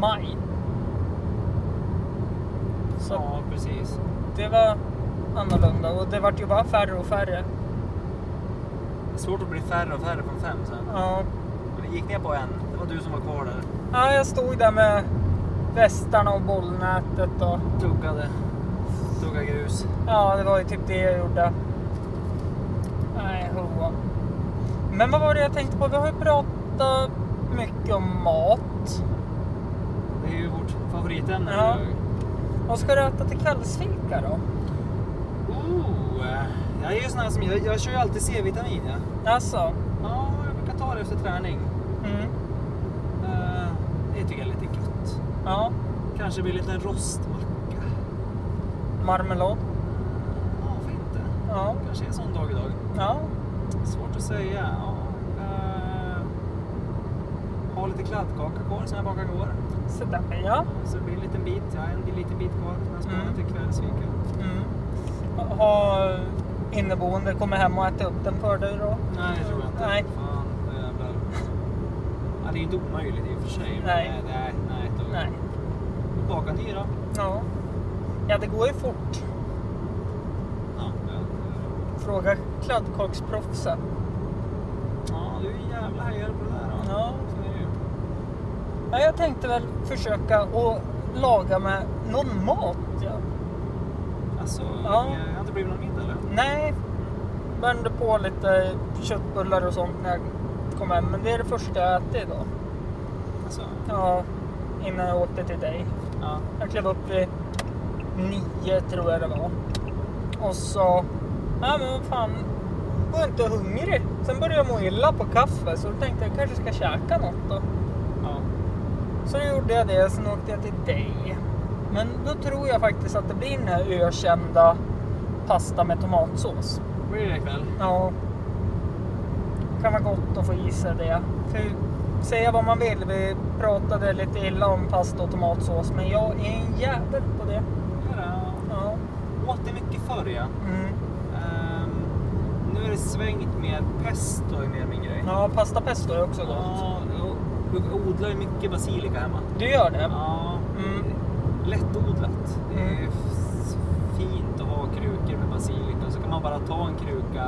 [SPEAKER 2] maj. Så
[SPEAKER 1] Ja, precis.
[SPEAKER 2] det var annorlunda och det vart ju bara färre och färre.
[SPEAKER 1] Det är svårt att bli färre och färre från fem sen.
[SPEAKER 2] Ja.
[SPEAKER 1] Men det gick ner på en. Det var du som var kvar där.
[SPEAKER 2] Ja, jag stod där med västarna och bollnätet och
[SPEAKER 1] Tuggade. Tuggade grus.
[SPEAKER 2] Ja, det var ju typ det jag gjorde. Nej, hoa. Men vad var det jag tänkte på? Vi har ju pratat mycket om mat.
[SPEAKER 1] Det är ju vårt favoritämne.
[SPEAKER 2] Ja. Vad ska du äta till kvällsfika då?
[SPEAKER 1] Oh, eh, jag är ju sån här som, jag, jag kör ju alltid C-vitamin. Ja.
[SPEAKER 2] Alltså,
[SPEAKER 1] ja, jag brukar ta det efter träning.
[SPEAKER 2] mm,
[SPEAKER 1] Eh, det tycker jag är lite gött.
[SPEAKER 2] ja,
[SPEAKER 1] Kanske blir lite en rostmacka.
[SPEAKER 2] marmelad.
[SPEAKER 1] Ja, varför inte?
[SPEAKER 2] Ja,
[SPEAKER 1] Kanske är en sån dag idag.
[SPEAKER 2] ja,
[SPEAKER 1] Svårt att säga. Ja, eh, ha lite kladdkaka kvar som jag bakade igår.
[SPEAKER 2] så där ja.
[SPEAKER 1] Så det blir en liten bit. Jag har en liten bit kvar. Jag ska mm.
[SPEAKER 2] Mm.
[SPEAKER 1] till kvällsfika.
[SPEAKER 2] Mm. Ha inneboende kommer hem och äter upp den för dig då?
[SPEAKER 1] Nej, det tror jag inte.
[SPEAKER 2] Nej.
[SPEAKER 1] Fan, det jävlar. Ja, det är inte omöjligt i och för sig. men
[SPEAKER 2] Nej.
[SPEAKER 1] Nej, nej, nej. Då.
[SPEAKER 2] Nej.
[SPEAKER 1] Baka ny då.
[SPEAKER 2] Ja. ja, det går ju fort.
[SPEAKER 1] Ja, ja.
[SPEAKER 2] Fråga kladdkaksproffsen.
[SPEAKER 1] ja, du är en jävla hejare på det där. Då.
[SPEAKER 2] Ja.
[SPEAKER 1] Så är det ju.
[SPEAKER 2] Ja, jag tänkte väl försöka att laga med någon mat. Ja.
[SPEAKER 1] Alltså,
[SPEAKER 2] Ja.
[SPEAKER 1] jag har inte blivit någon middag eller?
[SPEAKER 2] Nej, värmde på lite köttbullar och sånt när jag kom hem. Men det är det första jag äter idag.
[SPEAKER 1] Alltså,
[SPEAKER 2] Ja, innan jag åkte till dig.
[SPEAKER 1] ja.
[SPEAKER 2] Jag klev upp vid nio tror jag det var. Och så, ja men vad fan. var jag inte hungrig. Sen började jag må illa på kaffe så då tänkte jag kanske ska käka något då.
[SPEAKER 1] Ja.
[SPEAKER 2] Så gjorde jag det, sen åkte jag till dig. Men då tror jag faktiskt att det blir den här ökända pasta med tomatsås.
[SPEAKER 1] Blir det ikväll?
[SPEAKER 2] Ja. Kan vara gott att få i sig det. För säga vad man vill, vi pratade lite illa om pasta och tomatsås men jag är en jävel på det.
[SPEAKER 1] Ja,
[SPEAKER 2] Ja.
[SPEAKER 1] då. Åt det mycket förr ja.
[SPEAKER 2] Mm.
[SPEAKER 1] Ehm, nu är det svängt med pesto är mer min grej.
[SPEAKER 2] Ja, pasta pesto är också gott.
[SPEAKER 1] Ja, jo. vi odlar ju mycket basilika hemma.
[SPEAKER 2] Du gör det?
[SPEAKER 1] Ja,
[SPEAKER 2] Mm.
[SPEAKER 1] lättodlat. Det är
[SPEAKER 2] Mm.
[SPEAKER 1] f- fint att ha krukor med basilika. Så kan man bara ta en kruka,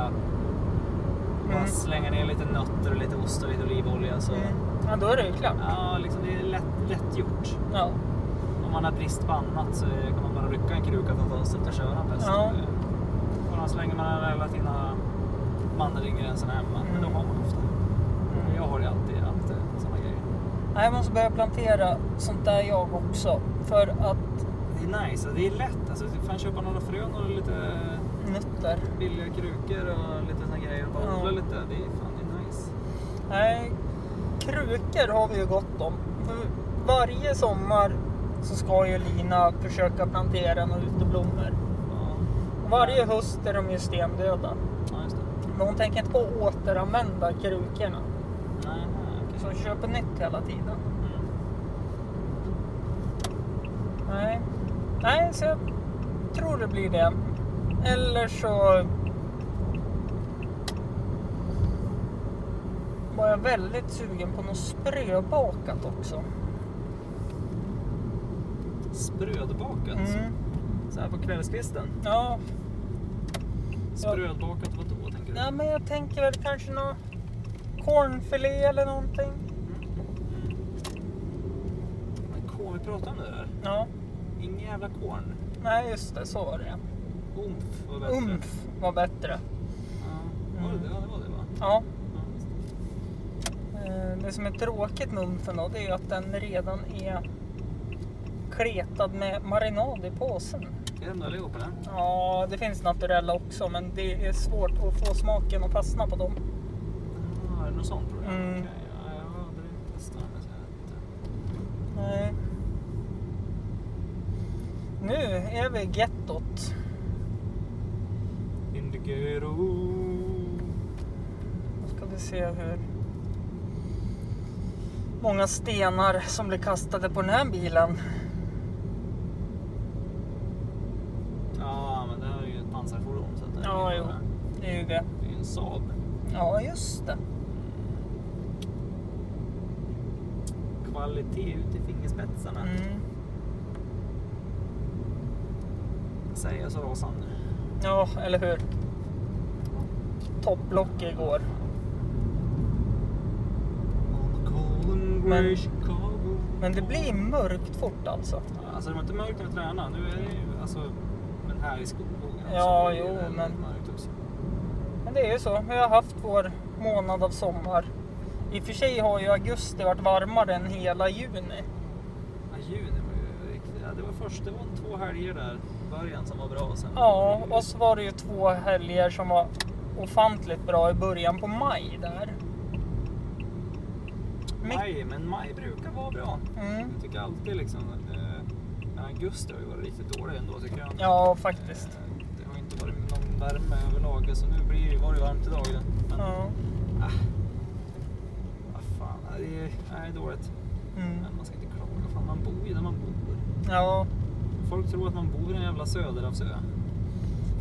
[SPEAKER 1] bara
[SPEAKER 2] Mm.
[SPEAKER 1] slänga ner lite nötter och lite ost och lite olivolja. Så.
[SPEAKER 2] Mm. Ja, då är det ju klart.
[SPEAKER 1] Ja, liksom, det är lätt, lätt gjort.
[SPEAKER 2] Ja.
[SPEAKER 1] Om man har brist på annat så kan man bara rycka en kruka från fönstret och köra bäst.
[SPEAKER 2] Ja.
[SPEAKER 1] Och då slänger man alla sina mandelingränserna hemma. Men de har man ofta.
[SPEAKER 2] Mm.
[SPEAKER 1] Jag har ju alltid, alltid såna grejer.
[SPEAKER 2] Nej, Jag måste börja plantera sånt där jag också. För att
[SPEAKER 1] Det är nice, och det är lätt. Alltså, du kan köpa några frön och lite
[SPEAKER 2] nötter.
[SPEAKER 1] billiga krukor och lite såna grejer. Och bara
[SPEAKER 2] Ja.
[SPEAKER 1] odla lite. Det är fan det är nice.
[SPEAKER 2] Nej, krukor har vi ju gott om. För varje sommar så ska ju Lina försöka plantera några uteblommor.
[SPEAKER 1] Ja,
[SPEAKER 2] Och Varje höst är de ju stendöda.
[SPEAKER 1] ja just det.
[SPEAKER 2] Men hon tänker inte på att återanvända krukorna.
[SPEAKER 1] Nej, nej, okej.
[SPEAKER 2] Så hon köper nytt hela tiden.
[SPEAKER 1] Mm.
[SPEAKER 2] Nej. Nej, så jag tror det blir det. Eller så var jag väldigt sugen på något spröbakat också.
[SPEAKER 1] Sprödbakat.
[SPEAKER 2] Mm.
[SPEAKER 1] Så här på kvällskvisten.
[SPEAKER 2] Ja,
[SPEAKER 1] Sprödbakat, vad då tänker du?
[SPEAKER 2] nej, men jag tänker väl kanske någon cornfilé eller någonting.
[SPEAKER 1] Men korn, vi pratar om det där.
[SPEAKER 2] Ja,
[SPEAKER 1] Ingen jävla korn.
[SPEAKER 2] nej just det, så var det.
[SPEAKER 1] Umf var bättre.
[SPEAKER 2] Umf var bättre.
[SPEAKER 1] Ja, var det det? Ja, det var det va?
[SPEAKER 2] Ja,
[SPEAKER 1] Ja, just det.
[SPEAKER 2] eh, det som är tråkigt med umfen då, det är ju att den redan är kletad med marinad i påsen.
[SPEAKER 1] Är det de där allihopa? eller?
[SPEAKER 2] Ja, det finns naturella också, men det är svårt att få smaken att fastna på dem.
[SPEAKER 1] Ja, är det något sånt tror jag?
[SPEAKER 2] Mm.
[SPEAKER 1] Okej, ja, jag har aldrig testat men så jag vet inte.
[SPEAKER 2] Nej. Nu är vi i gettot.
[SPEAKER 1] In the ghetto.
[SPEAKER 2] Nu ska vi se hur många stenar som blir kastade på den här bilen.
[SPEAKER 1] Ja, men det här är ju ett pansarfordon. Så att det är
[SPEAKER 2] Ja,
[SPEAKER 1] ju
[SPEAKER 2] jo.
[SPEAKER 1] bara-
[SPEAKER 2] Det är ju det.
[SPEAKER 1] Det är ju en Saab.
[SPEAKER 2] Ja, just det.
[SPEAKER 1] Kvalitet ut i fingerspetsarna.
[SPEAKER 2] Mm.
[SPEAKER 1] Säger jag så rasande.
[SPEAKER 2] Ja, eller hur? Topplock igår.
[SPEAKER 1] On the cold and grey
[SPEAKER 2] Men-
[SPEAKER 1] Chicago.
[SPEAKER 2] Men det blir mörkt fort alltså.
[SPEAKER 1] Alltså det var inte mörkt när vi tränade. Nu är det ju alltså, men här i skogen också.
[SPEAKER 2] Ja,
[SPEAKER 1] det är
[SPEAKER 2] jo,
[SPEAKER 1] väldigt
[SPEAKER 2] men-
[SPEAKER 1] Mörkt också.
[SPEAKER 2] Men det är ju så. Vi har haft vår månad av sommar. I och för sig har ju augusti varit varmare än hela juni.
[SPEAKER 1] Ja, juni var ju riktigt... Ja, det var först, det var två helger där i början som var bra. och Sen
[SPEAKER 2] Ja, och så var det ju två helger som var ofantligt bra i början på maj där. Mitt-
[SPEAKER 1] Maj, men maj brukar vara bra.
[SPEAKER 2] Mm.
[SPEAKER 1] Jag tycker alltid liksom... Eh, men augusti har ju varit riktigt dålig ändå tycker jag.
[SPEAKER 2] Ja, faktiskt.
[SPEAKER 1] Eh, Det har inte varit någon värme överlag. Så nu blir, var det ju varmt idag. Men
[SPEAKER 2] Ja.
[SPEAKER 1] ah, vad fan, nej, det är, nej, det är dåligt.
[SPEAKER 2] Mm.
[SPEAKER 1] Men man ska inte klaga. Fan, man bor ju där man bor.
[SPEAKER 2] Ja.
[SPEAKER 1] Folk tror att man bor i en jävla söderhavsö.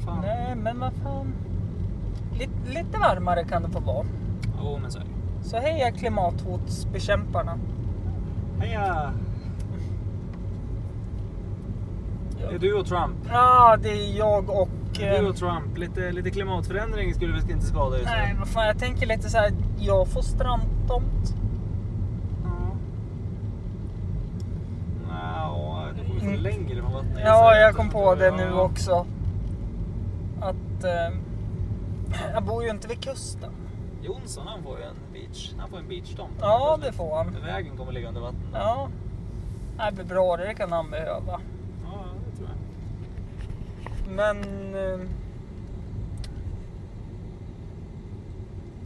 [SPEAKER 1] Fan.
[SPEAKER 2] Nej, men vad fan. Lite, lite varmare kan det få vara.
[SPEAKER 1] Jo, men så är det.
[SPEAKER 2] Så heja klimathotsbekämparna.
[SPEAKER 1] Heja! Det är du och Trump.
[SPEAKER 2] Ja, det är jag och...
[SPEAKER 1] Det är
[SPEAKER 2] eh,
[SPEAKER 1] Du och Trump. Lite, lite klimatförändring skulle vi inte skada just nu.
[SPEAKER 2] Nej, vad fan, jag tänker lite så här, jag får strandtomt.
[SPEAKER 1] Ja. Nja, du kommer ju
[SPEAKER 2] Mm.
[SPEAKER 1] få längre från vattnet.
[SPEAKER 2] Ja,
[SPEAKER 1] Så-
[SPEAKER 2] jag kom på det
[SPEAKER 1] Ja.
[SPEAKER 2] nu också. Att eh, jag bor ju inte vid kusten.
[SPEAKER 1] Jonsson han får ju en beach. Han får en beachtomt.
[SPEAKER 2] Ja, det får han.
[SPEAKER 1] Vägen kommer ligga under vatten.
[SPEAKER 2] Ja. Det blir bra, det kan han behöva.
[SPEAKER 1] ja, det tror jag.
[SPEAKER 2] Men... Eh,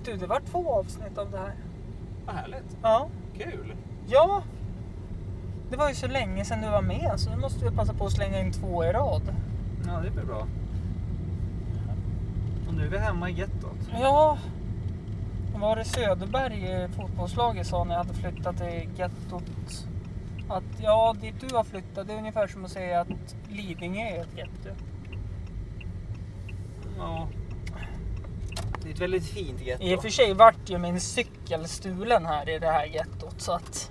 [SPEAKER 2] Du, det var två avsnitt av det här.
[SPEAKER 1] Vad härligt.
[SPEAKER 2] Ja.
[SPEAKER 1] Kul.
[SPEAKER 2] Ja. Det var ju så länge sedan du var med så nu måste vi passa på att slänga in två i rad.
[SPEAKER 1] Ja, det blir bra. Och nu är vi hemma i gettot.
[SPEAKER 2] Ja. Var det Söderberg, eh, fotbollslaget, sa när jag hade flyttat till gettot? Att ja, dit du har flyttat, det är ungefär som att säga att Lidingö är ett getto.
[SPEAKER 1] Ja. Det är ett väldigt fint getto.
[SPEAKER 2] I och för sig vart ju min cykel stulen här i det här gettot så att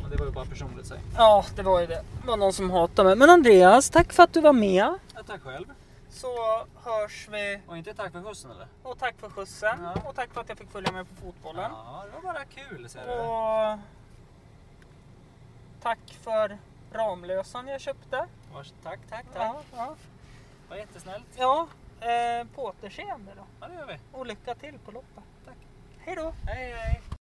[SPEAKER 1] Men det var ju bara personligt sig.
[SPEAKER 2] ja, det var ju det. Det var någon som hatade mig. Men Andreas, tack för att du var med.
[SPEAKER 1] Ja, tack själv.
[SPEAKER 2] Så hörs vi.
[SPEAKER 1] Och inte tack för skjutsen eller?
[SPEAKER 2] Och tack för skjutsen.
[SPEAKER 1] Ja.
[SPEAKER 2] Och tack för att jag fick följa med på fotbollen.
[SPEAKER 1] Ja, det var bara kul ser du.
[SPEAKER 2] Och tack för Ramlösan jag köpte.
[SPEAKER 1] Vars, tack, tack, tack.
[SPEAKER 2] Ja, ja.
[SPEAKER 1] Var jättesnällt.
[SPEAKER 2] ja eh, på återseende då.
[SPEAKER 1] Ja, det gör vi.
[SPEAKER 2] Och lycka till på loppet.
[SPEAKER 1] Tack.
[SPEAKER 2] Hej då!
[SPEAKER 1] Hej, hej.